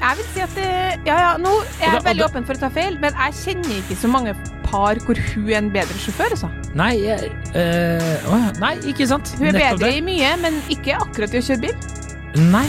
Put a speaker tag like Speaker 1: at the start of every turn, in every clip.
Speaker 1: Jeg vil si at det, ja, ja, nå er jeg
Speaker 2: Og det- og
Speaker 1: veldig
Speaker 2: det-
Speaker 1: åpen for å ta feil, men jeg kjenner ikke så mange par hvor hun er en bedre sjåfør, altså.
Speaker 2: Nei, jeg, eh, å ja, nei, ikke sant?
Speaker 1: Hun er
Speaker 2: Nettopp
Speaker 1: bedre
Speaker 2: det.
Speaker 1: i mye, men ikke akkurat i å kjøre bil.
Speaker 2: Nei.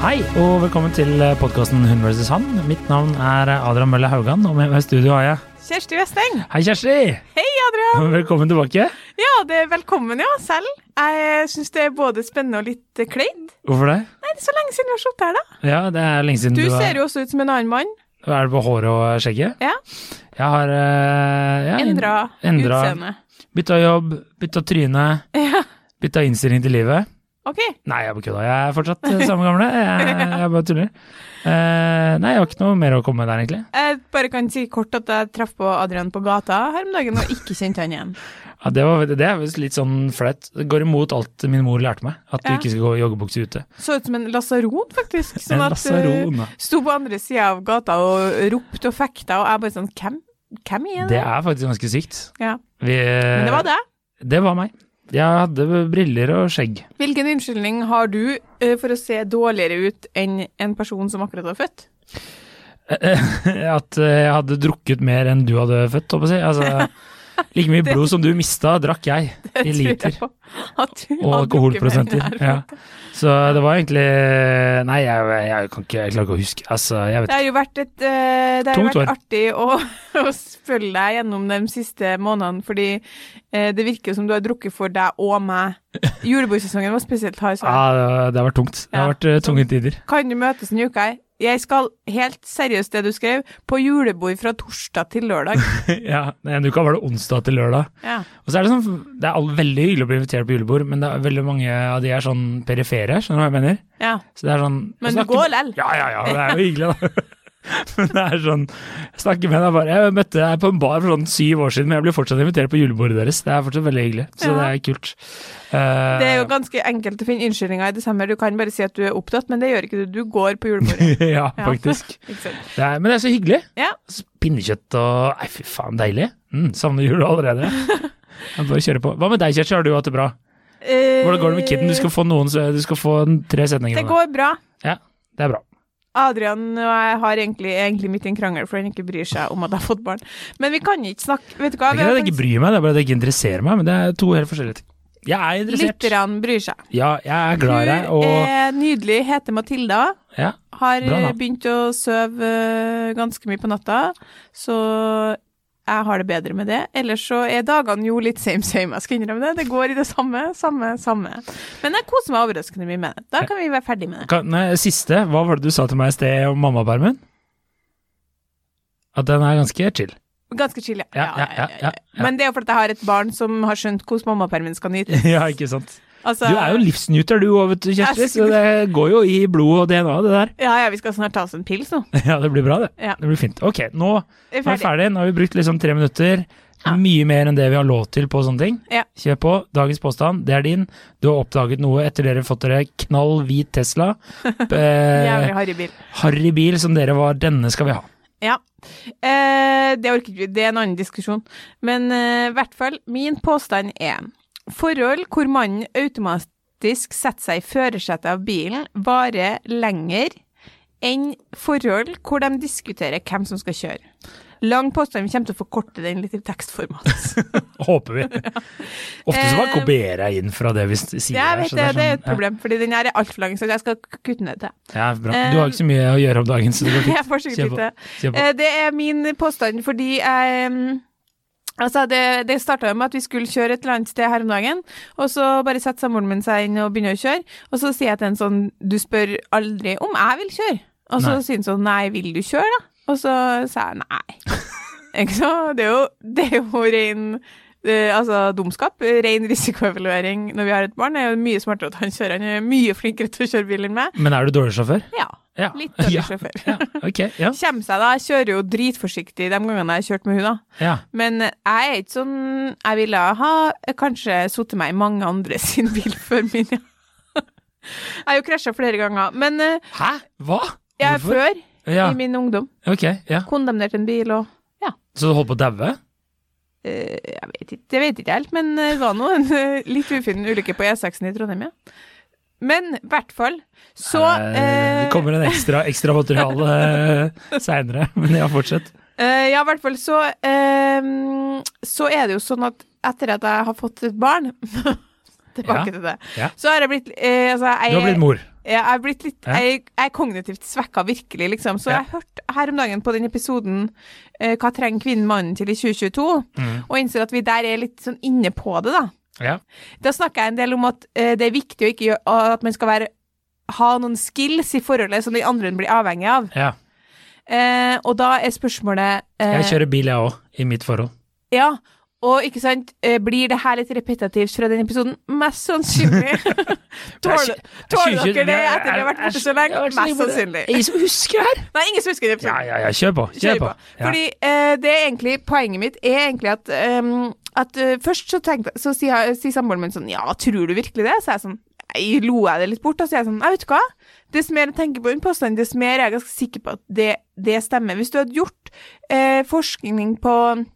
Speaker 2: Hei, og velkommen til podkasten Hun vs. han. Mitt navn er Adrian Mølle Haugan, og med meg i studio har jeg
Speaker 1: Kjersti Westeng.
Speaker 2: Hei, Kjersti!
Speaker 1: Hei, Adrian.
Speaker 2: Velkommen tilbake.
Speaker 1: Ja, det er velkommen, ja, selv. Jeg syns det er både spennende og litt eh, kleint.
Speaker 2: Hvorfor det?
Speaker 1: Nei, det er så lenge siden vi har sittet her, da.
Speaker 2: Ja, det er lenge siden
Speaker 1: Du
Speaker 2: du, er-
Speaker 1: ser jo også ut som en annen mann.
Speaker 2: Er det på håret og skjegget?
Speaker 1: Ja.
Speaker 2: Jeg har eh, ja,
Speaker 1: Endra
Speaker 2: endra-
Speaker 1: utseende.
Speaker 2: Bytta jobb, bytta tryne,
Speaker 1: Ja.
Speaker 2: bytta innstilling til livet.
Speaker 1: OK.
Speaker 2: Nei, jeg bare kødda. Jeg er fortsatt eh, samme gamle. Jeg, jeg bare tuller. Eh, nei, jeg har ikke noe mer å komme med der, egentlig.
Speaker 1: Jeg bare kan si kort at jeg traff på Adrian på gata her om dagen og ikke kjente han igjen.
Speaker 2: Ja, det, var, det er visst litt sånn flaut. Det går imot alt min mor lærte meg. At du
Speaker 1: Ja.
Speaker 2: ikke skal gå i joggebukse ute.
Speaker 1: Så ut som en lasaron, faktisk. Sånn
Speaker 2: En
Speaker 1: at
Speaker 2: lasaron, da.
Speaker 1: eh, Sto på andre sida av gata og ropte og fekta, og jeg bare sånn Hvem, hvem er det?
Speaker 2: Det er faktisk ganske sykt.
Speaker 1: Ja.
Speaker 2: Vi,
Speaker 1: Men det var det.
Speaker 2: Det var meg. Jeg hadde briller og skjegg.
Speaker 1: Hvilken unnskyldning har du eh, for å se dårligere ut enn en person som akkurat har født?
Speaker 2: At eh, jeg hadde drukket mer enn du hadde født, håper jeg. å si. Altså, like mye blod som du mista, drakk jeg. I liter.
Speaker 1: Tror jeg på At du har drukket
Speaker 2: Og
Speaker 1: mer enn
Speaker 2: alkoholprosenter.
Speaker 1: jeg
Speaker 2: Ja.
Speaker 1: har fått.
Speaker 2: Så det var egentlig eh, Nei, jeg, jeg kan ikke Jeg klarer ikke å huske. Altså, jeg vet
Speaker 1: Det har jo vært et eh, Det har
Speaker 2: Tungt
Speaker 1: jo vært
Speaker 2: år.
Speaker 1: artig å, å følge deg gjennom de siste månedene, fordi eh, det virker som du har drukket for deg og meg. Julebordsesongen var spesielt hard.
Speaker 2: ja,
Speaker 1: sa jeg.
Speaker 2: det har- ah, det har vært tungt. Det har
Speaker 1: Ja,
Speaker 2: vært eh,
Speaker 1: sånn.
Speaker 2: tunge tider.
Speaker 1: Kan du møtes en uke? her? Jeg skal, helt seriøst det du skrev, på julebord fra torsdag til lørdag.
Speaker 2: ja, En uke var det onsdag til lørdag.
Speaker 1: Ja.
Speaker 2: Og så er Det sånn, det er all, veldig hyggelig å bli invitert på julebord, men det er veldig mange av de er sånn perifere. Skjønner du hva jeg mener?
Speaker 1: ja.
Speaker 2: Så det er sånn
Speaker 1: Men du
Speaker 2: jeg snakker-
Speaker 1: går lell.
Speaker 2: Ja, ja, ja. Det er jo hyggelig, da. Men det er sånn Jeg snakker med deg bare Jeg møtte deg på en bar for sånn syv år siden, men jeg blir fortsatt invitert på julebordet deres. Det er fortsatt veldig hyggelig, så
Speaker 1: Ja.
Speaker 2: det er kult. Eh,
Speaker 1: Det er jo ganske enkelt å finne unnskyldninger i desember. Du kan bare si at du er opptatt, men det gjør ikke du. Du går på julebordet.
Speaker 2: ja,
Speaker 1: Ja.
Speaker 2: faktisk.
Speaker 1: Ikke sant?
Speaker 2: Det er, men det er så hyggelig.
Speaker 1: Ja.
Speaker 2: Så Pinnekjøtt og Nei, fy faen, deilig. Mm, savner jul allerede. Jeg bare kjører på. Hva med deg, Kjersti? Har du hatt det bra? Hvordan går det med kidden? Du skal få, noen, så- du skal få en- tre
Speaker 1: Eh,
Speaker 2: setninger.
Speaker 1: Det
Speaker 2: med
Speaker 1: går bra.
Speaker 2: Ja, det er bra.
Speaker 1: Adrian og jeg har egentlig, egentlig midt i en krangel, for han ikke bryr seg om at jeg har fått barn. Men vi kan ikke snakke Vet du hva?
Speaker 2: Det er ikke det at jeg ikke bryr meg, det er bare at jeg ikke interesserer meg. Men det er to helt forskjellige ting. Jeg er interessert.
Speaker 1: Lytterne bryr seg.
Speaker 2: Ja, jeg er glad i deg,
Speaker 1: Hun
Speaker 2: og
Speaker 1: er nydelig, heter Matilda.
Speaker 2: ja,
Speaker 1: Har
Speaker 2: Bra, da.
Speaker 1: eh, begynt å sove eh, ganske mye på natta, så jeg har det bedre med det. Ellers så er dagene jo litt same same, jeg skal innrømme det. Det går i det samme, samme, samme. Men jeg koser meg overraskende mye med det. Da kan vi være ferdig med det.
Speaker 2: Kan, nei, Siste, hva var det du sa til meg i sted om mammapermen? At den er ganske chill.
Speaker 1: Ganske chill, ja.
Speaker 2: Ja, ja, ja, ja, ja.
Speaker 1: Men det er jo fordi jeg har et barn som har skjønt hvordan mammapermen skal nytes.
Speaker 2: ja, ikke sant.
Speaker 1: Altså,
Speaker 2: Du er jo en livsnyter du òg, vet du, Kjersti. Så det går jo i blod og DNA, det der.
Speaker 1: Ja, ja, vi skal snart ta oss en pils nå.
Speaker 2: Ja, det blir bra, det.
Speaker 1: Ja.
Speaker 2: Det blir fint. Ok, nå
Speaker 1: Vi er
Speaker 2: nå er vi
Speaker 1: ferdig.
Speaker 2: ferdig. Nå har vi brukt liksom tre minutter. Mye mer enn det vi har lov til på sånne ting.
Speaker 1: Ja.
Speaker 2: Kjør på. Dagens påstand, det er din. Du har oppdaget noe etter dere har fått dere knall hvit Tesla.
Speaker 1: Jævlig
Speaker 2: Eh,
Speaker 1: harry bil.
Speaker 2: Harry bil som dere var, denne skal vi ha.
Speaker 1: Ja. Eh, det orker ikke vi, det er en annen diskusjon. Men eh, i hvert fall, min påstand er forhold hvor mannen automatisk setter seg i førersetet av bilen, varer lenger enn forhold hvor de diskuterer hvem som skal kjøre. Lang påstand, vi kommer til å forkorte den litt i tekstformat.
Speaker 2: Håper vi. Ofte så bare
Speaker 1: Eh,
Speaker 2: kopierer jeg inn fra det vi s- sier.
Speaker 1: Jeg
Speaker 2: her,
Speaker 1: vet
Speaker 2: så
Speaker 1: det, det er et
Speaker 2: sånn-
Speaker 1: problem, fordi den her er altfor lang, så jeg skal k- kutte ned til.
Speaker 2: Ja, ja, bra. Du har ikke så mye å gjøre om dagen, så det går
Speaker 1: Jeg
Speaker 2: fint.
Speaker 1: Eh, får sikkert
Speaker 2: Kjør på.
Speaker 1: ikke
Speaker 2: Kjør på.
Speaker 1: Eh, Det er min påstand, fordi jeg mm, Altså, det, det starta jo med at vi skulle kjøre et eller annet sted her om dagen, og så bare setter samboeren min seg inn og begynner å kjøre, og så sier jeg til en sånn Du spør aldri om jeg vil kjøre. Og så
Speaker 2: Nei.
Speaker 1: sier han sånn Nei, vil du kjøre, da? Og så sa jeg nei. Ikke sant? Det er jo, det er jo ren eh, altså dumskap, ren risikoevaluering når vi har et barn, er jo mye smartere at han kjører. Han er mye flinkere til å kjøre bil enn meg.
Speaker 2: Men er du dårlig sjåfør?
Speaker 1: Ja.
Speaker 2: Ja.
Speaker 1: Eh, Litt dårlig
Speaker 2: Ja.
Speaker 1: sjåfør.
Speaker 2: Ja, ok, ja.
Speaker 1: Kjem seg da, jeg kjører jo dritforsiktig de gangene jeg har kjørt med hun da.
Speaker 2: ja.
Speaker 1: Men jeg er ikke sånn Jeg ville ha kanskje sittet meg i mange andre sin bil før min, ja. Jeg har jo krasja flere ganger, men eh,
Speaker 2: Hæ? Hva?
Speaker 1: jeg er
Speaker 2: Hvorfor?
Speaker 1: før
Speaker 2: Ja,
Speaker 1: i min ungdom.
Speaker 2: ok, ja.
Speaker 1: Kondemnert en bil og
Speaker 2: Så du holdt på å daue?
Speaker 1: eh, Jeg vet ikke, det vet ikke helt, men eh, det var nå en eh, litt ufin ulykke på E6-en i Trondheim, ja. Men i hvert fall, så
Speaker 2: Eh,
Speaker 1: eh,
Speaker 2: det kommer en ekstra, ekstra materiale eh, seinere, men ja, fortsett.
Speaker 1: Eh, ja, i hvert fall så eh, Så er det jo sånn at etter at jeg har fått et barn Tilbake
Speaker 2: Ja,
Speaker 1: til det.
Speaker 2: ja.
Speaker 1: Så har jeg blitt eh, altså, jeg,
Speaker 2: Du har blitt mor.
Speaker 1: Ja, Jeg har blitt litt
Speaker 2: Ja.
Speaker 1: jeg, jeg er kognitivt svekka, virkelig, liksom. Så
Speaker 2: Ja.
Speaker 1: jeg hørte her om dagen på den episoden eh, 'Hva trenger kvinnen mannen til i 2022?'
Speaker 2: Mm.
Speaker 1: og innser at vi der er litt sånn inne på det, da.
Speaker 2: Ja.
Speaker 1: Da snakker jeg en del om at eh, det er viktig å ikke gjøre at man skal være ha noen skills i forholdet som den andre blir avhengig av.
Speaker 2: ja.
Speaker 1: Eh, og da er spørsmålet eh,
Speaker 2: Jeg kjører bil, jeg òg, i mitt forhold.
Speaker 1: Ja, og ikke sant, eh, blir det her litt repetitivt fra den episoden? Mest sannsynlig. Tåler tåler dere det etter vi har vært borte så lenge? Mest sannsynlig.
Speaker 2: Ingen som husker her!
Speaker 1: Nei, ingen som husker den
Speaker 2: Ja,
Speaker 1: episoden.
Speaker 2: ja, ja, kjør på. Kjør på. Ja.
Speaker 1: Fordi eh, det er egentlig, poenget mitt er egentlig at, ehm, at eh, først så, tenkte, så sier, jeg- sier samboeren min sånn, ja, tror du virkelig det? Så er jeg sånn, jeg lo jeg det litt bort, og så er jeg sånn, jeg vet ikke hva, dess mer jeg tenker på den påstanden, dess mer er jeg ganske sikker på at det, det stemmer. Hvis du hadde gjort eh, forskning på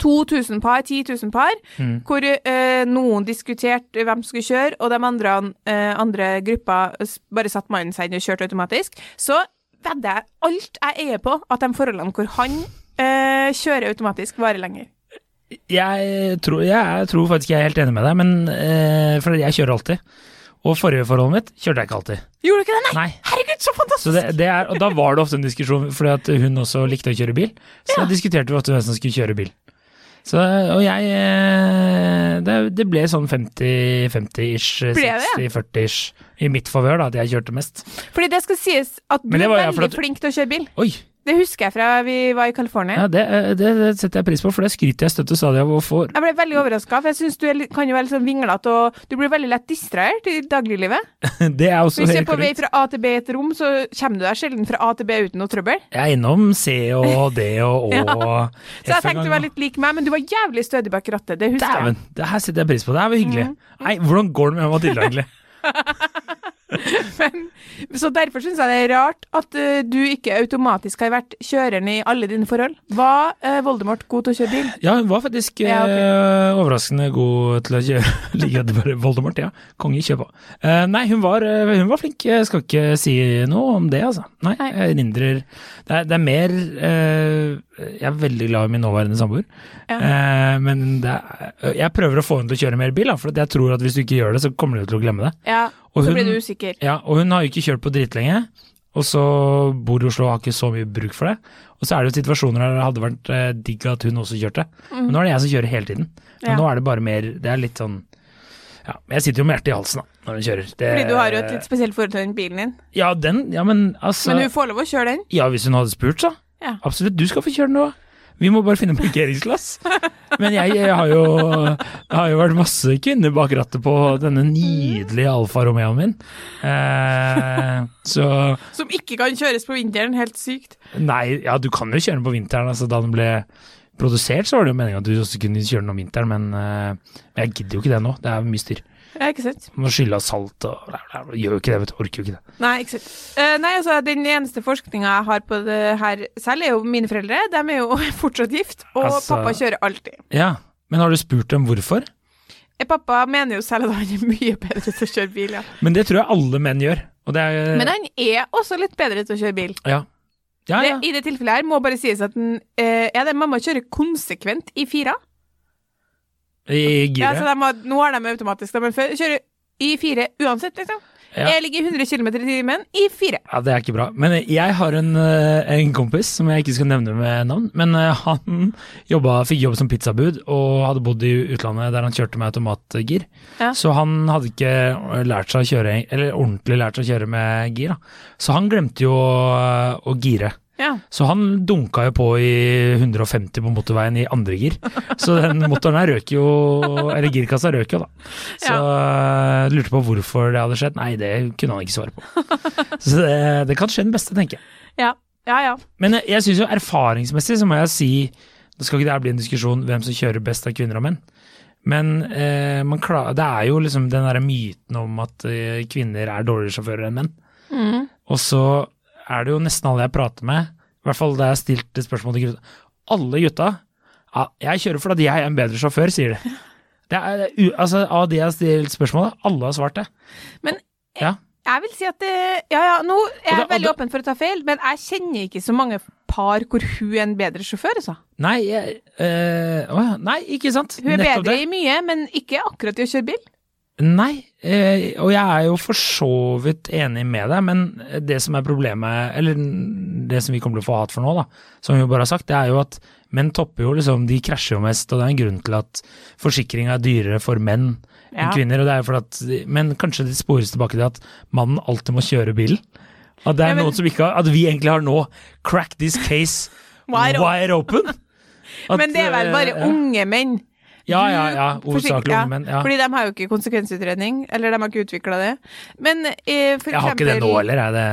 Speaker 1: 2000 par, 10 000 par,
Speaker 2: Mm.
Speaker 1: hvor eh, noen diskuterte hvem skulle kjøre, og de andre, eh, andre gruppa s- bare satt mannen seg inn og kjørte automatisk, så vedder jeg alt jeg eier på at de forholdene hvor han eh, kjører automatisk, varer lenger.
Speaker 2: Jeg tror, jeg tror faktisk jeg er helt enig med deg, men eh, for jeg kjører alltid. Og forrige forholdet mitt kjørte jeg ikke alltid.
Speaker 1: Gjorde du ikke det? Nei!
Speaker 2: Nei.
Speaker 1: Herregud, så fantastisk!
Speaker 2: Så det, det er, og da var det ofte en diskusjon, fordi at hun også likte å kjøre bil. Så da diskuterte vi ofte hvem som skulle kjøre bil. Så, og jeg eh, Det, det ble sånn 50-50-ish,
Speaker 1: Ble det?
Speaker 2: 60-40-ish i mitt favør, da, at jeg kjørte mest.
Speaker 1: Fordi det skal sies at du
Speaker 2: Men det
Speaker 1: er
Speaker 2: var jeg
Speaker 1: veldig
Speaker 2: for at-
Speaker 1: flink til å kjøre bil.
Speaker 2: Oi!
Speaker 1: Det husker jeg fra vi var i California.
Speaker 2: Ja, det, eh, det, det setter jeg pris på, for det skryter jeg støtt og stadig av å få.
Speaker 1: Jeg ble veldig overraska, for jeg syns du er litt- kan jo være litt sånn vinglete, og du blir veldig lett distrahert i dagliglivet.
Speaker 2: Det er også
Speaker 1: Hvis du er
Speaker 2: helt
Speaker 1: på vei
Speaker 2: korrekt.
Speaker 1: fra A til B i et rom, så kommer du deg sjelden fra A til B uten noe trøbbel.
Speaker 2: Jeg er innom C og D og Å
Speaker 1: Ja.
Speaker 2: og F
Speaker 1: Så jeg
Speaker 2: en
Speaker 1: tenkte
Speaker 2: gang,
Speaker 1: du var
Speaker 2: da.
Speaker 1: litt lik meg, men du var jævlig stødig bak rattet. Det husker jeg.
Speaker 2: Dæven, det her setter jeg pris på. Det her var hyggelig.
Speaker 1: Mm.
Speaker 2: Nei, hvordan går det med Matilda, egentlig?
Speaker 1: Men, så derfor syns jeg det er rart at eh, du ikke automatisk har vært kjøreren i alle dine forhold. Var eh, Voldemort god til å kjøre bil?
Speaker 2: Ja, hun var faktisk
Speaker 1: Ja, ok.
Speaker 2: eh, overraskende god til å kjøre. Ligger at det bare Voldemort, ja. Konge i kjøpa. Eh, nei, hun var, eh, hun var flink. Jeg skal ikke si noe om det, altså. Nei,
Speaker 1: Nei.
Speaker 2: jeg erindrer det, er- det er mer eh, Jeg er veldig glad i min nåværende samboer,
Speaker 1: Ja.
Speaker 2: Eh, men det er, jeg prøver å få henne til å kjøre mer bil, da, for at jeg tror at hvis du ikke gjør det, så kommer du til å glemme det.
Speaker 1: Ja,
Speaker 2: Og
Speaker 1: så
Speaker 2: hun-
Speaker 1: ble du usikker.
Speaker 2: Ja, og hun har jo ikke kjørt på dritlenge, og så bor i Oslo og har ikke så mye bruk for det. Og så er det jo situasjoner der det hadde vært eh, digg at hun også kjørte. Men nå er det jeg som kjører hele tiden. Men
Speaker 1: Mm. Ja.
Speaker 2: nå er det bare mer Det er litt sånn ja, men Jeg sitter jo med hjertet i halsen da, når hun kjører. Det,
Speaker 1: Fordi du har jo et litt spesielt forhold til den bilen din.
Speaker 2: Ja, den, ja, men altså
Speaker 1: Men hun får lov å kjøre den.
Speaker 2: Ja, hvis hun hadde spurt, så.
Speaker 1: Ja.
Speaker 2: Absolutt, du skal få kjøre den nå. Vi må bare finne en parkeringsplass. Men jeg, jeg, har jo, jeg har jo vært masse kvinner bak rattet på denne nydelige Alfa Romeoen min. Eh, så
Speaker 1: Som ikke kan kjøres på vinteren. Helt sykt.
Speaker 2: Nei, ja, du kan jo kjøre den på vinteren. Altså, da den ble produsert, så var det jo meningen at du også kunne kjøre den om vinteren, men eh, jeg gidder jo ikke det nå. Det er mye styr.
Speaker 1: Ja, ikke sant?
Speaker 2: Man må skylle av salt og bla, bla, bla. Gjør jo ikke det, vet du. Orker jo ikke det.
Speaker 1: Nei, ikke sant. Eh, nei, altså, den eneste forskninga jeg har på det her selv, er jo mine foreldre. De er jo fortsatt gift, og
Speaker 2: Altså-
Speaker 1: pappa kjører alltid.
Speaker 2: Ja, men har du spurt dem hvorfor?
Speaker 1: Eh, Pappa mener jo selv at han er mye bedre til å kjøre bil, ja.
Speaker 2: Men det tror jeg alle menn gjør. Og det er
Speaker 1: Men han er også litt bedre til å kjøre bil.
Speaker 2: Ja. Ja, ja.
Speaker 1: Det, I det tilfellet her må bare sies at den, eh, ja, den mamma kjører konsekvent i fire.
Speaker 2: I E. giret.
Speaker 1: Ja, så de har, nå har de automatisk, da, men før kjører i fire uansett, liksom.
Speaker 2: Ja.
Speaker 1: Jeg ligger i 100 km i timen i fire.
Speaker 2: Ja, Det er ikke bra. Men jeg har en, eh, en kompis som jeg ikke skal nevne med navn. Men eh, han jobba, fikk jobb som pizzabud og hadde bodd i utlandet der han kjørte med automatgir.
Speaker 1: Ja.
Speaker 2: Så han hadde ikke eh, lært seg eh, å kjøre, eller ordentlig lært seg å kjøre med gir. da. Så han glemte jo å, å gire.
Speaker 1: Ja.
Speaker 2: Så han dunka jo på i 150 på motorveien i andre gir. Så den motoren her røk jo, eller girkassa røk jo, da. Så jeg lurte på hvorfor det hadde skjedd. Nei, det kunne han ikke svare på. Så det, det kan skje den beste, tenker jeg.
Speaker 1: Ja, ja. ja.
Speaker 2: Men jeg, jeg syns jo erfaringsmessig så må jeg si Nå skal ikke det her bli en diskusjon hvem som kjører best av kvinner og menn. Men eh, man kla- det er jo liksom den derre myten om at eh, kvinner er dårligere sjåfører enn menn.
Speaker 1: Mm.
Speaker 2: Og så er det jo nesten alle jeg prater med, i hvert fall da jeg stilte spørsmål til gutta Alle gutta ja, 'Jeg kjører fordi jeg er en bedre sjåfør', sier de. Det er, det er u- altså, av de jeg har stilt spørsmål, alle har svart det.
Speaker 1: Men-
Speaker 2: ja.
Speaker 1: Jeg vil si at det, Ja, ja, nå er jeg
Speaker 2: Og det- og
Speaker 1: veldig
Speaker 2: det-
Speaker 1: åpen for å ta feil, men jeg kjenner ikke så mange par hvor hun er en bedre sjåfør, altså.
Speaker 2: Nei, jeg, eh, å ja, nei, ikke sant?
Speaker 1: Hun er
Speaker 2: Nettopp
Speaker 1: bedre
Speaker 2: det.
Speaker 1: i mye, men ikke akkurat i å kjøre bil.
Speaker 2: Nei, eh, og jeg er jo for så vidt enig med deg, men det som er problemet, eller n- det som vi kommer til å få hat for nå, da, som vi jo bare har sagt, det er jo at menn topper jo liksom, de krasjer jo mest, og det er en grunn til at forsikring er dyrere for menn enn
Speaker 1: Ja.
Speaker 2: kvinner, og det er jo fordi at, de- men kanskje det spores tilbake til at mannen alltid må kjøre bilen. At det er
Speaker 1: Ja, men-
Speaker 2: noen som ikke har, at vi egentlig har nå crack this case
Speaker 1: Wide
Speaker 2: wide,
Speaker 1: open.
Speaker 2: open. At,
Speaker 1: Men det er vel bare
Speaker 2: eh,
Speaker 1: unge menn.
Speaker 2: Ja, ja, ja,
Speaker 1: Forsiktig,
Speaker 2: hovedsakelig
Speaker 1: ja.
Speaker 2: unge menn. Ja.
Speaker 1: Fordi de har jo ikke konsekvensutredning, eller de har ikke utvikla det. Men eh, for
Speaker 2: Jeg har ikke det nå,
Speaker 1: eksempel
Speaker 2: eller er det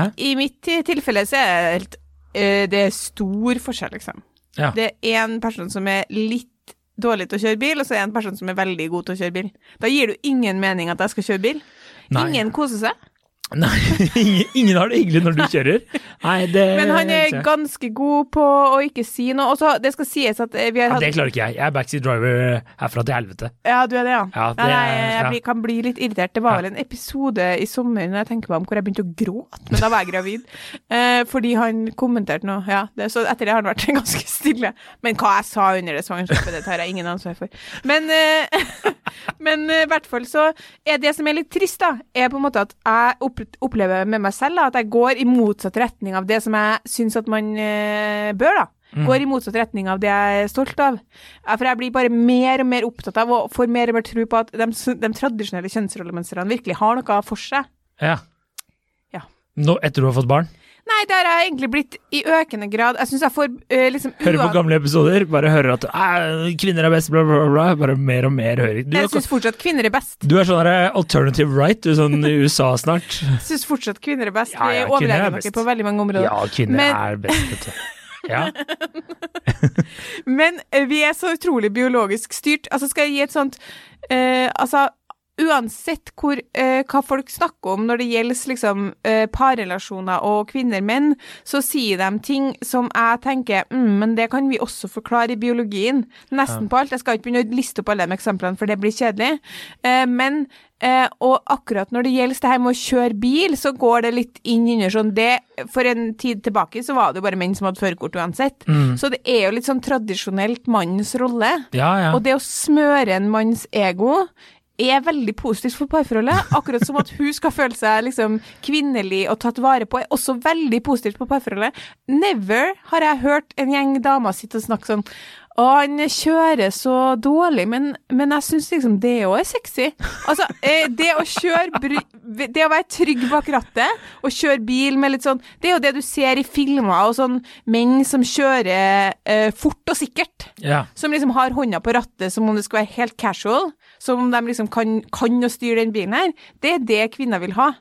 Speaker 2: Hæ?
Speaker 1: I mitt ti- tilfelle så er det helt eh, Det er stor forskjell, liksom.
Speaker 2: Ja.
Speaker 1: Det er én person som er litt dårlig til å kjøre bil, og så er det en person som er veldig god til å kjøre bil. Da gir det jo ingen mening at jeg skal kjøre bil.
Speaker 2: Nei.
Speaker 1: Ingen koser seg.
Speaker 2: Nei, ingen, ingen har det hyggelig når du kjører. Nei, det
Speaker 1: Men han er
Speaker 2: ja,
Speaker 1: ganske god på å ikke si noe. Og så, det skal sies at eh, vi har
Speaker 2: Det
Speaker 1: hatt
Speaker 2: klarer ikke jeg. Jeg er backseat driver herfra til helvete.
Speaker 1: Ja, du er det, ja.
Speaker 2: Ja, det
Speaker 1: Nei, nei,
Speaker 2: er-
Speaker 1: jeg,
Speaker 2: ja.
Speaker 1: blir- kan bli litt irritert. Det var vel en episode i sommer når jeg tenker meg om hvor jeg begynte å gråte, men da var jeg gravid. Eh, fordi han kommenterte noe. Ja, det, så etter det har han vært ganske stille. Men hva jeg sa under det svangerskapet, det tar jeg ingen ansvar for. Men eh, men eh, i hvert fall så er det som er litt trist, da, er på en måte at jeg opp- opplever med meg selv da, at jeg går i motsatt retning av det som jeg syns at man eh, bør, da.
Speaker 2: Mm.
Speaker 1: Går i motsatt retning av det jeg er stolt av. Ja, For jeg blir bare mer og mer opptatt av, og får mer og mer tro på at de, s- de tradisjonelle kjønnsrollemønstrene virkelig har noe for seg.
Speaker 2: Ja.
Speaker 1: Ja.
Speaker 2: Nå, etter du har fått barn?
Speaker 1: Nei, det har jeg egentlig blitt i økende grad. Jeg syns jeg får eh, liksom
Speaker 2: Hører på
Speaker 1: uan-
Speaker 2: gamle episoder, bare hører at «Æ, kvinner er best, bla, bla, bla. Bare mer og mer hører. Du,
Speaker 1: Jeg
Speaker 2: er-
Speaker 1: syns fortsatt kvinner er best.
Speaker 2: du er sånn der alternative right, du, sånn i USA snart.
Speaker 1: Jeg syns fortsatt kvinner er best.
Speaker 2: Ja, ja,
Speaker 1: Vi
Speaker 2: kvinner er
Speaker 1: overlever
Speaker 2: best.
Speaker 1: dere på veldig mange områder.
Speaker 2: Ja, kvinner
Speaker 1: Men-
Speaker 2: er best, vet du. Ja.
Speaker 1: Men eh, vi er så utrolig biologisk styrt. Altså, skal jeg gi et sånt eh, Altså, uansett hvor, eh, hva folk snakker om når det gjelder liksom, eh, parrelasjoner og kvinner-menn, så sier de ting som jeg tenker mm, men det kan vi også forklare i biologien. Nesten på alt. Jeg skal ikke begynne å liste opp alle de eksemplene, for det blir kjedelig. Eh, men Eh, og akkurat når det gjelder det her med å kjøre bil, så går det litt inn under sånn det, For en tid tilbake så var det jo bare menn som hadde førerkort uansett. Så det er jo litt sånn tradisjonelt mannens rolle.
Speaker 2: Ja, ja.
Speaker 1: Og det å smøre en manns ego er veldig positivt for parforholdet. Akkurat som at hun skal føle seg liksom kvinnelig og tatt vare på, er også veldig positivt på parforholdet. Never har jeg hørt en gjeng damer sitte og snakke sånn å, han kjører så dårlig, men, men jeg syns liksom det òg er sexy. Altså, eh, det å kjøre bry- Det å være trygg bak rattet og kjøre bil med litt sånn Det er jo det du ser i filmer og sånn menn som kjører eh, fort og sikkert
Speaker 2: ja.
Speaker 1: som liksom har hånda på rattet som om det skal være helt casual, som om de liksom kan, kan å styre den bilen her, det er det kvinner vil ha.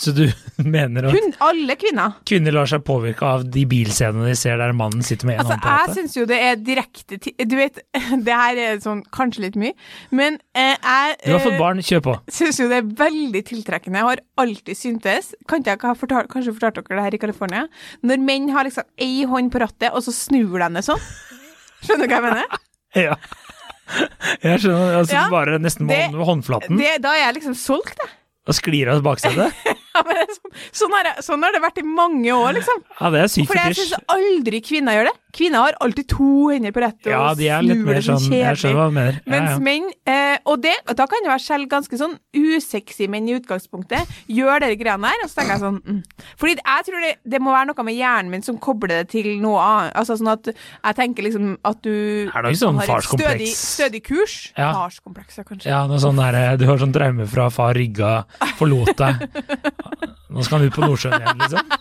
Speaker 2: Så du mener at
Speaker 1: Hun, alle kvinner.
Speaker 2: kvinner lar seg påvirke av de bilscenene de ser der mannen sitter med en
Speaker 1: Altså,
Speaker 2: hånd på
Speaker 1: jeg
Speaker 2: rattet?
Speaker 1: syns jo det er direkte ti- Du vet, det her er sånn kanskje litt mye, men eh, jeg
Speaker 2: Du har fått
Speaker 1: eh,
Speaker 2: barn, kjør på.
Speaker 1: Syns jo det er veldig tiltrekkende. Jeg har alltid syntes kan ikke jeg ha fortalt, Kanskje fortalt dere det her i California? Når menn har liksom ei hånd på rattet, og så snur de det sånn. Skjønner du hva jeg mener?
Speaker 2: Ja. Jeg skjønner. Altså,
Speaker 1: Ja,
Speaker 2: bare nesten med
Speaker 1: det-
Speaker 2: hånd- håndflaten.
Speaker 1: Det, da er jeg liksom solgt, jeg.
Speaker 2: Og sklir av bakstedet.
Speaker 1: Ja, men det er sånn, sånn, har jeg- sånn har det vært i mange år, liksom.
Speaker 2: Ja, det er sykt
Speaker 1: For jeg
Speaker 2: fetisj.
Speaker 1: syns aldri kvinner gjør det. Kvinner har alltid to hender på rettet
Speaker 2: Ja,
Speaker 1: og
Speaker 2: de er litt
Speaker 1: snur
Speaker 2: mer
Speaker 1: det så
Speaker 2: sånn Jeg skjønner hva du mener. Ja,
Speaker 1: Mens
Speaker 2: ja.
Speaker 1: menn, eh, og det, og da kan det være selv ganske sånn usexy menn i utgangspunktet, gjør dere greiene her, og så tenker jeg sånn mm. Fordi jeg tror det, det må være noe med hjernen min som kobler det til noe annet. Altså sånn at jeg tenker liksom at du
Speaker 2: Er det ikke sånn
Speaker 1: har et stødig,
Speaker 2: farskompleks?
Speaker 1: stødig kurs.
Speaker 2: Ja.
Speaker 1: Farskomplekser, kanskje.
Speaker 2: Ja, noe sånn der, eh, du har sånn traume fra far rygga, forlot deg. Nå skal han ut på Nordsjøen igjen, liksom.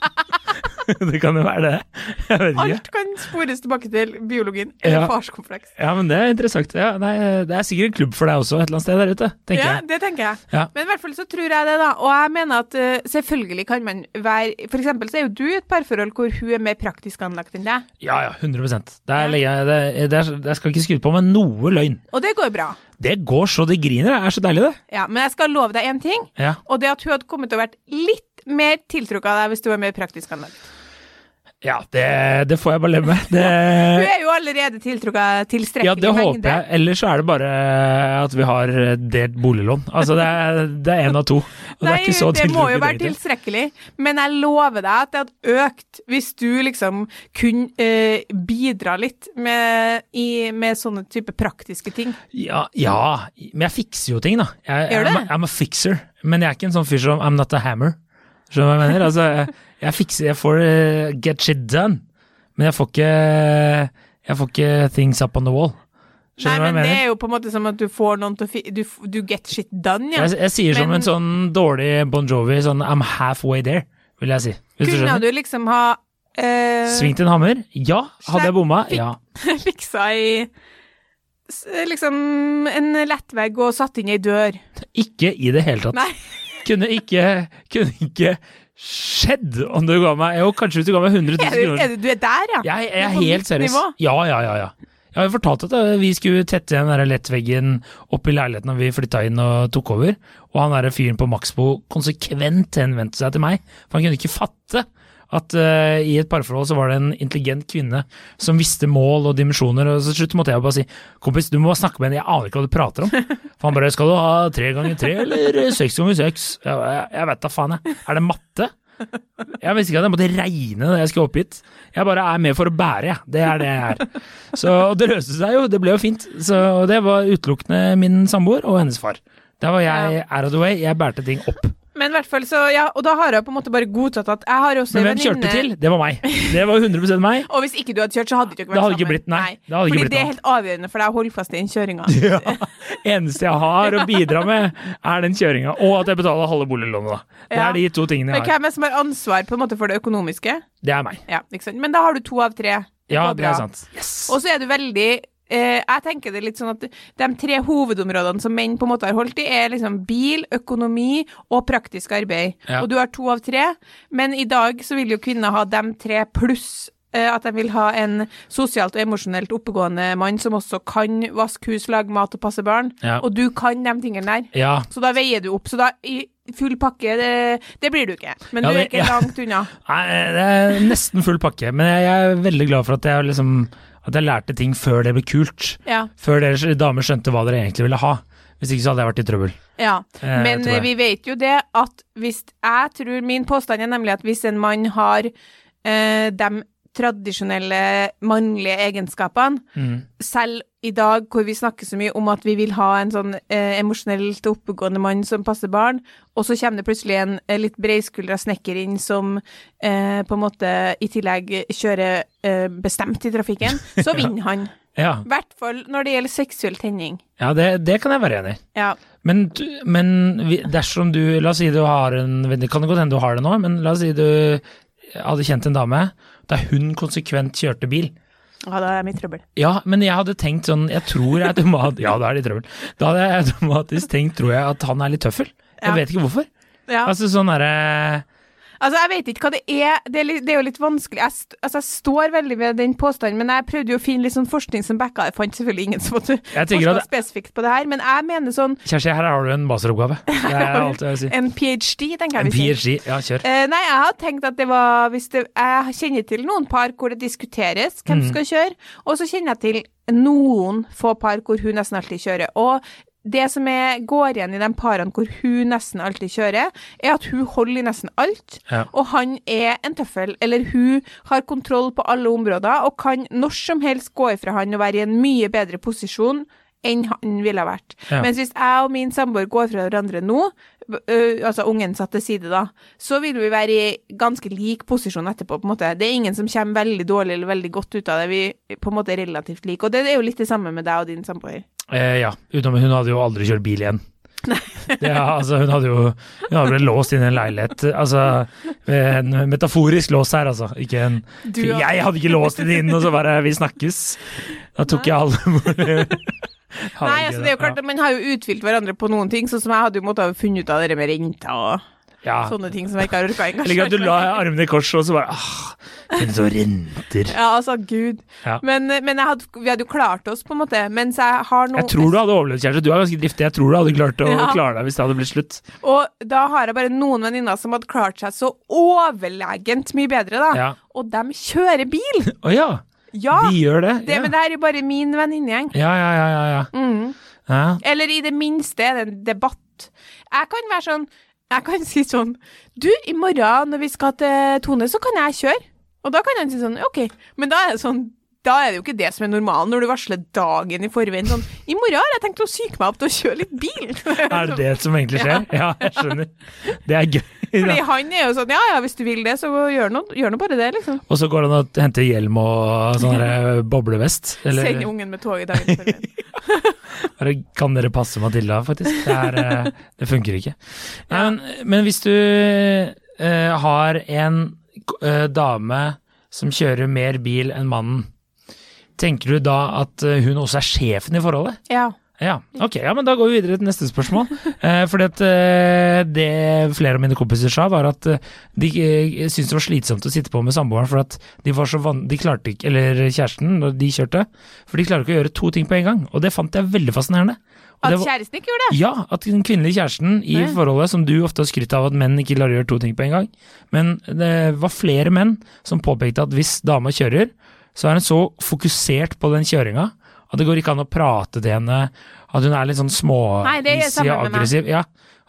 Speaker 2: det kan jo være det. Jeg vet ikke.
Speaker 1: Alt kan spores tilbake til biologien eller
Speaker 2: Ja.
Speaker 1: farskompleks.
Speaker 2: Ja, men det er interessant. Ja, nei, det er sikkert en klubb for deg også, et eller annet sted der ute, tenker
Speaker 1: Ja,
Speaker 2: jeg.
Speaker 1: det tenker jeg.
Speaker 2: Ja.
Speaker 1: Men i hvert fall så tror jeg det, da. Og jeg mener at eh, selvfølgelig kan man være For eksempel så er jo du i et parforhold hvor hun er mer praktisk anlagt enn deg.
Speaker 2: Ja, ja, 100 Der legger jeg, det, der, der skal jeg ikke skryte på med noe løgn.
Speaker 1: Og det går bra.
Speaker 2: Det går så det griner, det er så deilig, det.
Speaker 1: Ja, men jeg skal love deg én ting,
Speaker 2: Ja.
Speaker 1: og det er at hun hadde kommet til å vært litt mer tiltrukket av deg hvis du var mer praktisk anlagt.
Speaker 2: Ja, det, det får jeg bare leve med. Det,
Speaker 1: Hun er jo allerede tiltrukket av tilstrekkelig
Speaker 2: Eh, ja, det håper
Speaker 1: mengde.
Speaker 2: jeg. Ellers så er det bare at vi har delt boliglån. Altså, det er, det er en av to. Og det
Speaker 1: Nei,
Speaker 2: er ikke så
Speaker 1: det må jo
Speaker 2: tiltrekkelig
Speaker 1: være
Speaker 2: egentlig.
Speaker 1: tilstrekkelig, men jeg lover deg at det hadde økt hvis du liksom kunne eh, bidra litt med, i, med sånne type praktiske ting.
Speaker 2: Ja, ja, men jeg fikser jo ting, da. Jeg,
Speaker 1: Gjør du
Speaker 2: I'm,
Speaker 1: det?
Speaker 2: a- I'm a fixer. Men jeg er ikke en sånn fyr som I'm not a hammer. Skjønner du hva jeg mener? Altså, jeg, jeg fikser, jeg får eh, get shit done. Men jeg får ikke Jeg får ikke things up on the wall. Skjønner
Speaker 1: Nei,
Speaker 2: du hva jeg
Speaker 1: men det
Speaker 2: mener?
Speaker 1: er jo på en måte som at du får noen til å fi... Du, f- du get shit done, ja.
Speaker 2: Jeg, jeg sier som
Speaker 1: men-
Speaker 2: en sånn dårlig Bon Jovi, sånn I'm halfway there, vil jeg si. Hvis du
Speaker 1: Kunne
Speaker 2: skjønner.
Speaker 1: du liksom ha eh,
Speaker 2: Sving til en hammer? Ja. Hadde jeg bomma? Ja.
Speaker 1: fiksa i s- liksom en lettvegg og satt inn ei dør?
Speaker 2: Ikke i det hele tatt.
Speaker 1: Nei.
Speaker 2: Kunne ikke, kunne ikke skjedd om du ga meg Jo, kanskje hvis du ga meg 100 000
Speaker 1: Er du,
Speaker 2: kroner.
Speaker 1: er du, du er der, ja?
Speaker 2: Jeg, jeg
Speaker 1: Det
Speaker 2: er
Speaker 1: er på
Speaker 2: helt
Speaker 1: nytt
Speaker 2: seriøs.
Speaker 1: nivå.
Speaker 2: Ja, ja, ja, ja. Jeg har jo fortalt at eh, vi skulle tette den der lettveggen opp i leiligheten når vi flytta inn og tok over, og han derre fyren på Maxbo konsekvent henvendte seg til meg, for han kunne ikke fatte at eh, i et parforhold så var det en intelligent kvinne som visste mål og dimensjoner, og så til slutt måtte jeg bare si kompis, du må snakke med henne, jeg aner ikke hva du prater om. For han bare skal du ha tre ganger tre eller seks ganger seks? Jeg, jeg, jeg vet da faen, jeg. Er det matte? Jeg visste ikke at jeg måtte regne da jeg skulle opp hit. Jeg bare er med for å bære, jeg. Det er det jeg er. Så og det løste seg jo, det ble jo fint. Så, og det var utelukkende min samboer og hennes far. Der var jeg out of the way, jeg bærte ting opp.
Speaker 1: Men i hvert fall, så ja, og da har jeg på en måte bare godtatt at jeg har også
Speaker 2: Men
Speaker 1: en
Speaker 2: hvem kjørte
Speaker 1: venninne-
Speaker 2: til? Det var meg. Det var 100 meg.
Speaker 1: Og hvis ikke du hadde kjørt, så hadde du ikke vært
Speaker 2: Det hadde ikke
Speaker 1: sammen.
Speaker 2: blitt- nei, det hadde ikke
Speaker 1: Fordi
Speaker 2: blitt
Speaker 1: det er
Speaker 2: noe.
Speaker 1: helt avgjørende for deg å holde fast i den kjøringa.
Speaker 2: Ja. Eneste jeg har å bidra med, er den kjøringa. Og at jeg betaler halve boliglånet, da. Det
Speaker 1: Ja.
Speaker 2: er de to tingene
Speaker 1: Men
Speaker 2: jeg har.
Speaker 1: hvem er det som har ansvar på en måte for det økonomiske?
Speaker 2: Det er meg.
Speaker 1: Ja, ikke sant? Men da har du to av tre. Det
Speaker 2: Ja,
Speaker 1: går
Speaker 2: det er
Speaker 1: bra.
Speaker 2: sant. Yes.
Speaker 1: Og så er du veldig eh, Jeg tenker det litt sånn at de tre hovedområdene som menn på en måte har holdt i, er liksom bil, økonomi og praktisk arbeid.
Speaker 2: Ja.
Speaker 1: Og du har to av tre, men i dag så vil jo kvinner ha dem tre pluss eh, at de vil ha en sosialt og emosjonelt oppegående mann som også kan vaske hus, lage mat og passe barn.
Speaker 2: Ja.
Speaker 1: Og du kan de tingene der.
Speaker 2: Ja.
Speaker 1: Så da veier du opp. Så da i full pakke, det, det blir du ikke. Men
Speaker 2: Ja,
Speaker 1: du er
Speaker 2: det-
Speaker 1: ikke
Speaker 2: ja.
Speaker 1: langt unna.
Speaker 2: Nei, det er nesten full pakke. Men jeg er veldig glad for at jeg, liksom, at jeg lærte ting før det ble kult.
Speaker 1: Ja.
Speaker 2: Før dere damer skjønte hva dere egentlig ville ha. Hvis ikke så hadde jeg vært i trøbbel.
Speaker 1: Ja,
Speaker 2: Eh,
Speaker 1: men
Speaker 2: tror jeg.
Speaker 1: vi vet jo det at hvis Jeg tror min påstand er nemlig at hvis en mann har eh, de tradisjonelle mannlige egenskapene,
Speaker 2: Mm.
Speaker 1: selv i dag hvor vi snakker så mye om at vi vil ha en sånn eh, emosjonelt oppegående mann som passer barn, og så kommer det plutselig en eh, litt breiskuldra snekker inn som eh, på en måte i tillegg kjører eh, bestemt i trafikken, så vinner han.
Speaker 2: Ja,
Speaker 1: I hvert fall når det gjelder seksuell tenning.
Speaker 2: ja det, det kan jeg være enig i.
Speaker 1: Ja.
Speaker 2: Men, du- men vi- dersom du La oss si du har en venn- Det kan godt hende du har det nå, men la oss si du hadde kjent en dame da hun konsekvent kjørte bil.
Speaker 1: ja, da er jeg i trøbbel.
Speaker 2: Ja, men jeg hadde tenkt sånn Jeg tror jeg automat, Ja, da er det trøbbel. Da hadde jeg automatisk tenkt, tror jeg, at han er litt tøffel. Jeg
Speaker 1: Ja.
Speaker 2: vet ikke hvorfor.
Speaker 1: Ja.
Speaker 2: Altså sånn derre
Speaker 1: Altså, jeg vet ikke hva det er. Det er, litt, det er jo litt vanskelig. Jeg, st altså, jeg står veldig ved den påstanden, men jeg prøvde jo å finne litt sånn forskning som backa. Jeg fant selvfølgelig ingen som hadde
Speaker 2: Jeg tenker
Speaker 1: forska
Speaker 2: at-
Speaker 1: spesifikt på det her, men jeg mener sånn
Speaker 2: Kjersti, her har du en masteroppgave. Det er alt jeg vil si.
Speaker 1: en ph.d., tenker
Speaker 2: En
Speaker 1: jeg vi sier.
Speaker 2: PhD. Ja, kjør.
Speaker 1: Eh, nei, jeg har tenkt at det var hvis det, Jeg kjenner til noen par hvor det diskuteres hvem som skal kjøre, og så kjenner jeg til noen få par hvor hun nesten alltid kjører. Og det som er, går igjen i de parene hvor hun nesten alltid kjører, er at hun holder i nesten alt,
Speaker 2: Ja.
Speaker 1: og han er en tøffel, eller hun har kontroll på alle områder og kan når som helst gå ifra han og være i en mye bedre posisjon enn han ville ha vært.
Speaker 2: Ja.
Speaker 1: Mens hvis jeg og min samboer går fra hverandre nå, b- ø, altså ungen satt til side da, så vil vi være i ganske lik posisjon etterpå, på en måte. Det er ingen som kommer veldig dårlig eller veldig godt ut av det. Vi på en måte er relativt like. Og det er jo litt det samme med deg og din samboer.
Speaker 2: Eh, ja. Utenom hun hadde jo aldri kjørt bil igjen. Det, er- altså, hun hadde jo hun hadde blitt låst inn i en leilighet. Altså, en metaforisk lås her, altså. Ikke en
Speaker 1: Du,
Speaker 2: Fy, Jeg hadde ikke låst henne inn, og så bare Vi snakkes. Da tok jeg alle mulige
Speaker 1: Nei, altså det er jo klart at Man har jo utfylt hverandre på noen ting, sånn som jeg hadde jo måttet ha funnet ut av det med renta og
Speaker 2: ja.
Speaker 1: sånne ting som jeg ikke har orka
Speaker 2: Jeg liker at du
Speaker 1: engasjert
Speaker 2: la
Speaker 1: meg i.
Speaker 2: armene i kors, og så bare ah, Men så renter.
Speaker 1: Ja, altså, gud.
Speaker 2: Ja.
Speaker 1: Men, men jeg hadde, vi hadde jo klart oss, på en måte. Mens jeg har noe
Speaker 2: Jeg tror du hadde overlevd, kjæreste. Du er ganske driftig. Jeg tror du hadde klart å
Speaker 1: Ja.
Speaker 2: klare deg hvis det hadde blitt slutt.
Speaker 1: Og da har jeg bare noen venninner som hadde klart seg så overlegent mye bedre, da.
Speaker 2: Ja.
Speaker 1: Og de kjører bil!
Speaker 2: Å ja,
Speaker 1: Ja!
Speaker 2: de gjør det.
Speaker 1: Ah, Det,
Speaker 2: ja.
Speaker 1: Men det her er jo bare min venninnegjeng.
Speaker 2: ja, ja, ja, ja, ja.
Speaker 1: Mm.
Speaker 2: ja.
Speaker 1: Eller i det minste er det en debatt. Jeg kan være sånn Jeg kan si sånn Du, i morgen når vi skal til Tone, så kan jeg kjøre. Og da kan han si sånn OK. Men da er det sånn da er det jo ikke det som er normalen, når du varsler dagen i forveien. Sånn, 'I morgen har jeg tenkt å syke meg opp til å kjøre litt bil.'
Speaker 2: Er det det som egentlig skjer? Ja, jeg skjønner. Det er gøy.
Speaker 1: Fordi
Speaker 2: Da.
Speaker 1: han er jo sånn 'Ja ja, hvis du vil det, så gjør nå gjør nå bare det', liksom.
Speaker 2: Og så går det an å hente hjelm og sånn der, eh, boblevest. Eller
Speaker 1: Send ungen med toget dagen i forveien.
Speaker 2: bare, kan dere passe Matilda, faktisk? Det, er, eh, det funker ikke. Nei, men, men hvis du eh, har en eh, dame som kjører mer bil enn mannen, tenker du da at eh, hun også er sjefen i forholdet?
Speaker 1: Ja.
Speaker 2: Ja, ok, ja, men da går vi videre til neste spørsmål. Eh, fordi at eh, det flere av mine kompiser sa, var at eh, de eh, syntes det var slitsomt å sitte på med samboeren, for at de var så van... De klarte ikke, eller kjæresten, når de kjørte, for de klarer ikke å gjøre to ting på en gang. Og det fant jeg veldig fascinerende. Og
Speaker 1: At
Speaker 2: det var,
Speaker 1: kjæresten ikke gjorde det?
Speaker 2: ja, at den kvinnelige kjæresten i
Speaker 1: Ja.
Speaker 2: forholdet, som du ofte har skrytt av at menn ikke klarer å gjøre to ting på en gang, men det var flere menn som påpekte at hvis dama kjører, så er hun så fokusert på den kjøringa at det går ikke an å prate til henne, at hun er litt sånn
Speaker 1: Nei, det er
Speaker 2: småissig
Speaker 1: sammen
Speaker 2: og
Speaker 1: med meg.
Speaker 2: aggressiv. Ja,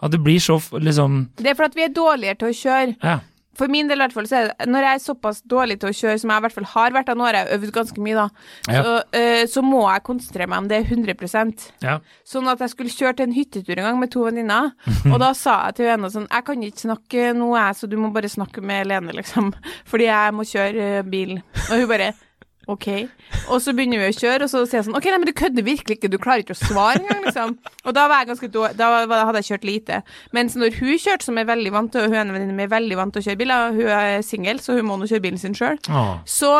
Speaker 2: at det blir så f- liksom
Speaker 1: Det er for at vi er dårligere til å kjøre.
Speaker 2: Ja,
Speaker 1: For min del i hvert fall, så er det, når jeg er såpass dårlig til å kjøre som jeg i hvert fall har vært, da nå har jeg øvd ganske mye, da,
Speaker 2: Ja.
Speaker 1: så, eh, så må jeg konsentrere meg om det 100
Speaker 2: ja.
Speaker 1: Sånn at jeg skulle kjøre til en hyttetur en gang med to venninner, og da sa jeg til henne sånn Jeg kan ikke snakke nå, jeg, så du må bare snakke med Lene, liksom, fordi jeg må kjøre eh, bil. Og hun bare OK. Og så begynner vi å kjøre, og så sier jeg sånn OK, nei, men du kødder virkelig ikke, du klarer ikke å svare engang, liksom. Og da var jeg ganske dårlig, da var- hadde jeg kjørt lite. Mens når hun kjørte, som er veldig vant til, og hun er en venninne mi er veldig vant til å kjøre bil, og hun er singel, så hun må nå kjøre bilen sin sjøl,
Speaker 2: Åh,
Speaker 1: så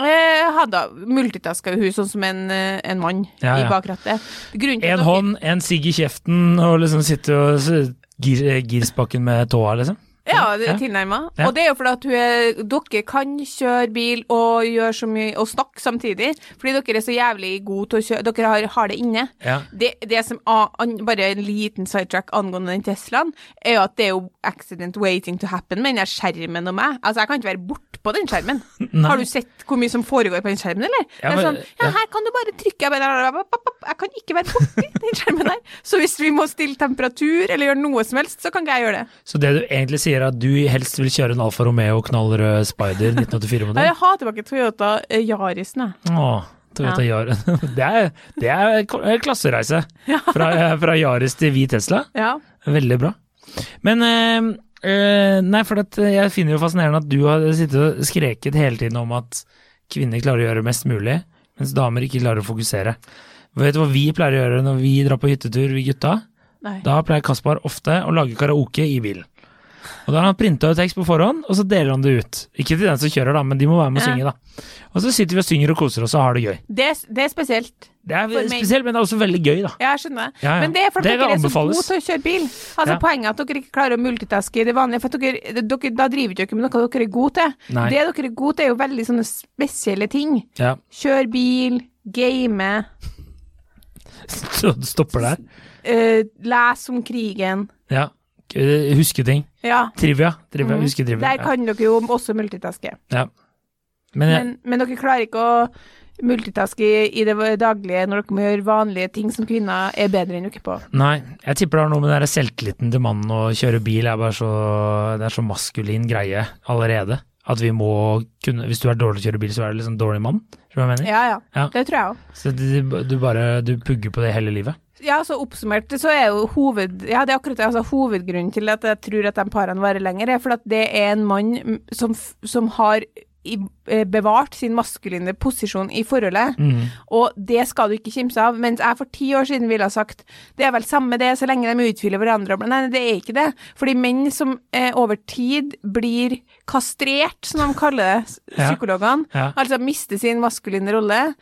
Speaker 1: eh, hadde multitaska hun sånn som en, eh, en mann
Speaker 2: Ja, ja.
Speaker 1: i bakrattet. Grunnen til at
Speaker 2: En
Speaker 1: dere-
Speaker 2: hånd, en sigg i kjeften, og liksom sitte og s- gir, eh, girspaken med tåa, liksom.
Speaker 1: Ja, det
Speaker 2: Ja.
Speaker 1: er tilnærma.
Speaker 2: Ja.
Speaker 1: Og det er jo fordi at hun er, dere kan kjøre bil og gjøre så mye og snakke samtidig. Fordi dere er så jævlig gode til å kjøre Dere har, har det inne.
Speaker 2: Ja.
Speaker 1: Det, det som a- an, Bare en liten sidetrack angående den Teslaen, er jo at det er jo accident waiting to happen med den der skjermen og meg. Altså, jeg kan ikke være bortpå den skjermen. Har du sett hvor mye som foregår på den skjermen, eller?
Speaker 2: Ja,
Speaker 1: det er
Speaker 2: men-
Speaker 1: sånn, ja,
Speaker 2: ja.
Speaker 1: her kan du bare trykke Jeg, bare, jeg kan ikke være borti den skjermen der. Så hvis vi må stille temperatur eller gjøre noe som helst, så kan ikke jeg gjøre det.
Speaker 2: Så det du egentlig sier er at du helst vil kjøre en Alfa Romeo knallrød Spider
Speaker 1: Ja,
Speaker 2: 1984-modell?
Speaker 1: jeg har tilbake Toyota eh, Yarisen, jeg.
Speaker 2: Åh, Toyota Yaris. Det er, det er ko- eh, klassereise. Fra, fra Yaris til hvit Tesla.
Speaker 1: Ja.
Speaker 2: Veldig bra. Men eh, eh, Nei, for at jeg finner jo fascinerende at du har sittet og skreket hele tiden om at kvinner klarer å gjøre mest mulig, mens damer ikke klarer å fokusere. Vet du hva vi pleier å gjøre når vi drar på hyttetur, vi gutta?
Speaker 1: Nei.
Speaker 2: Da pleier Kaspar ofte å lage karaoke i bilen. Og da har han printa ut tekst på forhånd, og så deler han det ut. Ikke til den som kjører, da, men de må være med og
Speaker 1: Ja.
Speaker 2: synge, da. Og så sitter vi og synger og koser oss og har det gøy.
Speaker 1: Det, er s- det er spesielt.
Speaker 2: Det er
Speaker 1: For meg-
Speaker 2: spesielt, men det er også veldig gøy, da.
Speaker 1: Ja, jeg skjønner det.
Speaker 2: Ja, ja.
Speaker 1: Men det er fordi
Speaker 2: Det
Speaker 1: dere er så
Speaker 2: anbefales.
Speaker 1: gode til å kjøre bil. Altså
Speaker 2: Ja.
Speaker 1: Poenget er at dere ikke klarer å multitaske i det vanlige. For at dere, dere, da driver dere ikke med noe dere er gode til.
Speaker 2: Nei.
Speaker 1: Det dere er gode til, er jo veldig sånne spesielle ting.
Speaker 2: Ja.
Speaker 1: Kjøre bil, game,
Speaker 2: Så det stopper der.
Speaker 1: eh, lese om krigen.
Speaker 2: Ja. Eh, Huske ting.
Speaker 1: Ja.
Speaker 2: Trivia. trivia.
Speaker 1: Mhm.
Speaker 2: Huske trivia.
Speaker 1: Der kan dere jo også multitaske.
Speaker 2: ja. Men, jeg-
Speaker 1: Men, men dere klarer ikke å multitaske i, i det daglige når dere må gjøre vanlige ting som kvinner er bedre enn dere på.
Speaker 2: nei, jeg tipper det har noe med den der selvtilliten til mannen å kjøre bil. Er bare så, det er så maskulin greie allerede. At vi må kunne Hvis du er dårlig til å kjøre bil, så er du liksom dårlig mann. Tror du hva jeg mener?
Speaker 1: Ja, ja.
Speaker 2: Ja.
Speaker 1: Det tror jeg òg.
Speaker 2: Så du, du bare du pugger på det hele livet.
Speaker 1: Ja, så oppsummert så er jo hoved... Ja, det er akkurat det. Altså, hovedgrunnen til at jeg tror at de parene varer lenger, er fordi at det er en mann mm, som, f- som har i, eh, bevart sin maskuline posisjon i forholdet,
Speaker 2: Mm.
Speaker 1: og det skal du ikke kimse av. Mens jeg for ti år siden ville ha sagt det er vel samme det, så lenge de utfyller hverandre. Men nei, det er ikke det. Fordi menn som eh, over tid blir kastrert, som de kaller det, s-
Speaker 2: Ja.
Speaker 1: psykologene,
Speaker 2: Ja.
Speaker 1: altså mister sin maskuline rolle.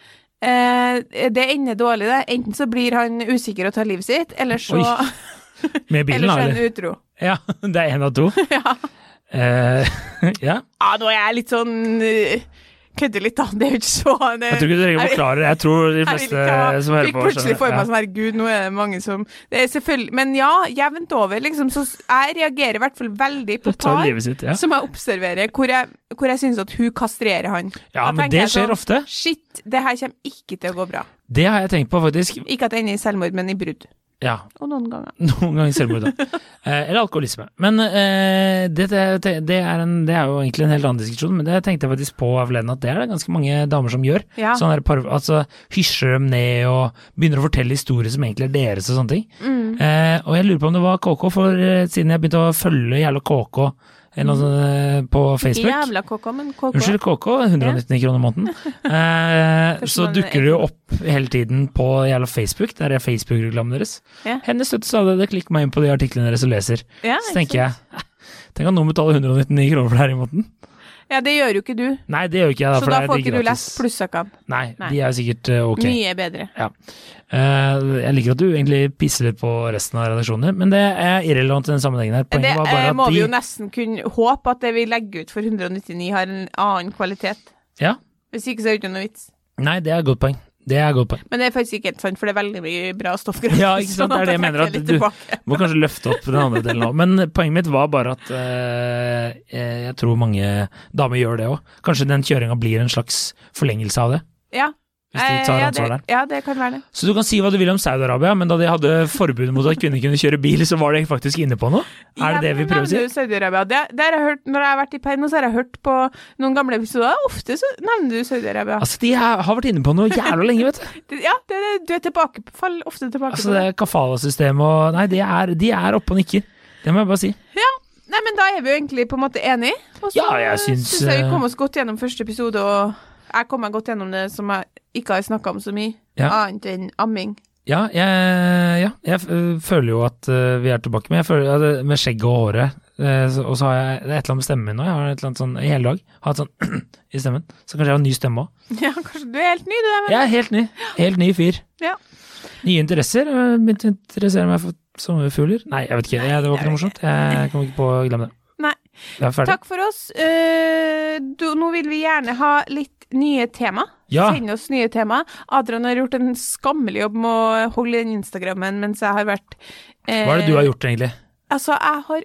Speaker 1: Eh, det ender dårlig, det. Enten så blir han usikker og tar livet sitt, eller så,
Speaker 2: Oi. Med bilen,
Speaker 1: eller så
Speaker 2: da,
Speaker 1: er
Speaker 2: eller?
Speaker 1: han utro.
Speaker 2: Ja, det er én av to. Eh, ja.
Speaker 1: Ja, nå er jeg litt sånn øh, Kødder litt, da. Det er jo ikke så det,
Speaker 2: Jeg tror ikke du trenger å forklare det. Jeg tror
Speaker 1: Jeg
Speaker 2: de
Speaker 1: vil
Speaker 2: fleste
Speaker 1: ikke ha-
Speaker 2: som hører
Speaker 1: fikk
Speaker 2: på
Speaker 1: plutselig
Speaker 2: skjønner.
Speaker 1: for meg
Speaker 2: Ja.
Speaker 1: sånn herregud, nå er det mange som det er selvfølgelig, Men ja, jevnt over, liksom. Så s- jeg reagerer i hvert fall veldig på
Speaker 2: Tar
Speaker 1: par
Speaker 2: livet sitt, ja.
Speaker 1: som jeg observerer, hvor jeg, hvor jeg syns at hun kastrerer han.
Speaker 2: Ja,
Speaker 1: Da
Speaker 2: men
Speaker 1: tenker
Speaker 2: det
Speaker 1: jeg
Speaker 2: skjer
Speaker 1: sånn,
Speaker 2: ofte.
Speaker 1: Shit, det her kommer ikke til å gå bra.
Speaker 2: Det har jeg tenkt på, faktisk.
Speaker 1: Ikke at det ender i selvmord, men i brudd.
Speaker 2: Ja,
Speaker 1: Og noen ganger.
Speaker 2: Noen ganger selvmord, da. Eh, eller alkoholisme. Men eh, det, det, det, er en, det er jo egentlig en helt annen diskusjon, men det tenkte jeg faktisk på av forleden, at det er det ganske mange damer som gjør.
Speaker 1: Ja.
Speaker 2: Sånn der par, altså Hysjer dem ned og begynner å fortelle historier som egentlig er deres og sånne ting.
Speaker 1: Mm.
Speaker 2: Eh, og jeg lurer på om det var KK, for eh, siden jeg begynte å følge jævla KK eller noe sånt, eh, på Facebook
Speaker 1: Jævla KK, men KK.
Speaker 2: Unnskyld, KK, 199 kroner i måneden. Eh, så
Speaker 1: Førstemann
Speaker 2: dukker det jo opp hele tiden på jævla Facebook, der er Facebook-reklamen deres.
Speaker 1: Ja.
Speaker 2: Hennes støtte sa det, det klikker meg inn på de artiklene deres og leser.
Speaker 1: Ja, ikke
Speaker 2: så tenker
Speaker 1: sant?
Speaker 2: jeg, "Hæ, tenk at noen betaler 199 kroner for det her i måneden.
Speaker 1: Ja, det gjør jo ikke du.
Speaker 2: Nei, det gjør ikke jeg da,
Speaker 1: Så
Speaker 2: for
Speaker 1: da
Speaker 2: det er
Speaker 1: får
Speaker 2: de
Speaker 1: ikke du
Speaker 2: gratis.
Speaker 1: lest plussøkene.
Speaker 2: Nei,
Speaker 1: Nei.
Speaker 2: de er jo sikkert eh, ok.
Speaker 1: Mye bedre.
Speaker 2: Ja. Eh, jeg liker at du egentlig pisser litt på resten av redaksjonen, men det er irrelevant i den sammenhengen her.
Speaker 1: Det
Speaker 2: Poenget var bare
Speaker 1: eh, må
Speaker 2: at
Speaker 1: vi jo
Speaker 2: de
Speaker 1: nesten kunne håpe at det vi legger ut for 199 har en annen kvalitet.
Speaker 2: Ja,
Speaker 1: Hvis ikke så er det ikke noe vits.
Speaker 2: nei, det er et godt poeng. Det er et godt poeng.
Speaker 1: Men det er faktisk ikke helt sant, for det er veldig mye bra stoff gratis.
Speaker 2: Ja, ikke sant,
Speaker 1: sånn
Speaker 2: det er det jeg
Speaker 1: trekker
Speaker 2: mener at
Speaker 1: litt
Speaker 2: du-
Speaker 1: tilbake.
Speaker 2: Må kanskje løfte opp den andre delen òg. Men poenget mitt var bare at eh, eh, jeg tror mange damer gjør det òg. Kanskje den kjøringa blir en slags forlengelse av det.
Speaker 1: Ja.
Speaker 2: Hvis de tar
Speaker 1: Eh, ja,
Speaker 2: ansvar
Speaker 1: det,
Speaker 2: der.
Speaker 1: ja, det kan være det.
Speaker 2: Så du kan si hva du vil om Saudi-Arabia, men da de hadde forbud mot at kvinner kunne kjøre bil, så var de faktisk inne på noe? Er det det vi prøver å si?
Speaker 1: Nevner du Saudi-Arabia? Det, det har jeg hørt, når jeg har vært i perm, så har jeg hørt på noen gamle episoder. Ofte så nevner du Saudi-Arabia.
Speaker 2: Altså, de er- har vært inne på noe jævla lenge, vet du.
Speaker 1: Det- Ja, det, det, du er tilbake, fall ofte tilbake
Speaker 2: Altså,
Speaker 1: på
Speaker 2: det
Speaker 1: det.
Speaker 2: er kafala-systemet og Nei, de er, de er oppe og nikker. Det må jeg bare si.
Speaker 1: Nei, men da er vi jo egentlig på en måte enige. Og så
Speaker 2: Ja, jeg syns,
Speaker 1: syns jeg vi
Speaker 2: eh,
Speaker 1: kom oss godt gjennom første episode, og jeg kom meg godt gjennom det som jeg ikke har snakka om så mye,
Speaker 2: Ja.
Speaker 1: annet enn amming.
Speaker 2: Ja, jeg, ja, jeg øh, føler jo at øh, vi er tilbake, men jeg føler ja, det, med skjegget og håret øh, så- Og så har jeg det er et eller annet med stemmen min nå. Jeg har et eller annet sånn i hele dag. Har et sånn i stemmen. Så kanskje jeg har en ny stemme òg.
Speaker 1: Ja, kanskje du er helt ny, du. Men...
Speaker 2: Jeg er helt ny. Helt ny fyr.
Speaker 1: Ja.
Speaker 2: Nye interesser. øh, Begynte å interessere meg for sommerfugler. Nei, jeg vet ikke. Jeg, det var ikke noe morsomt. Jeg kom ikke på å glemme det.
Speaker 1: Nei.
Speaker 2: Jeg er ferdig.
Speaker 1: Takk for oss. Eh, du, nå vil vi gjerne ha litt nye tema.
Speaker 2: Ja.
Speaker 1: Send oss nye tema. Adrian har gjort en skammelig jobb med å holde den Instagrammen mens jeg har vært eh,
Speaker 2: Hva er det du har gjort, egentlig?
Speaker 1: Altså, jeg har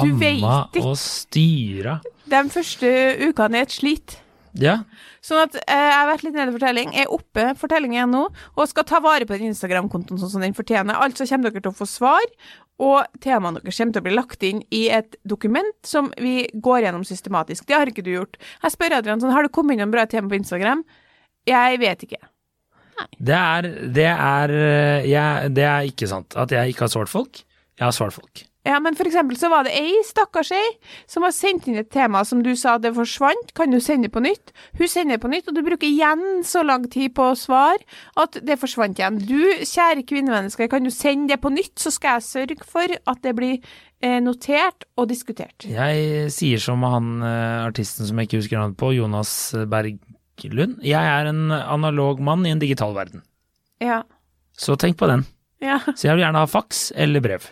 Speaker 1: Du vet
Speaker 2: Amma
Speaker 1: ikke.
Speaker 2: og styra.
Speaker 1: De første ukene er et slit.
Speaker 2: Ja.
Speaker 1: Sånn at eh, jeg har vært litt nede for telling. Jeg er oppe fortellingen nå, og skal ta vare på den Instagram-kontoen sånn som den fortjener. Altså kommer dere til å få svar, og temaene deres kommer til å bli lagt inn i et dokument som vi går gjennom systematisk. Det har ikke du gjort. Jeg spør Adrian sånn, har det kommet inn noen bra tema på Instagram? Jeg vet ikke.
Speaker 2: Det er, det, er, øh, jeg, det er ikke sant at jeg ikke har svart folk. Jeg har svart folk.
Speaker 1: Ja, men for eksempel så var det ei, stakkars ei, som har sendt inn et tema som du sa det forsvant, kan du sende på nytt? Hun sender på nytt, og du bruker igjen så lang tid på å svare at det forsvant igjen. Du, kjære kvinnemenneske, kan du sende det på nytt, så skal jeg sørge for at det blir eh, notert og diskutert.
Speaker 2: Jeg sier som han eh, artisten som jeg ikke husker navnet på, Jonas Berglund. Jeg er en analog mann i en digital verden.
Speaker 1: Ja.
Speaker 2: Så tenk på den.
Speaker 1: ja.
Speaker 2: Så jeg vil gjerne ha faks eller brev.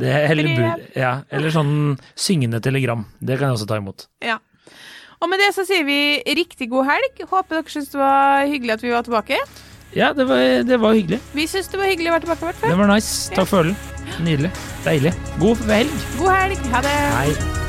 Speaker 2: Det, eller, bud, ja, eller sånn syngende telegram. Det kan jeg også ta imot.
Speaker 1: ja. Og med det så sier vi riktig god helg. Håper dere syns det var hyggelig at vi var tilbake.
Speaker 2: Ja, det var, det var hyggelig.
Speaker 1: Vi syns det var hyggelig å være tilbake, i hvert fall.
Speaker 2: Det var nice. Takk for ølen. Nydelig. Deilig. God helg.
Speaker 1: God helg. Ha det.
Speaker 2: Hei.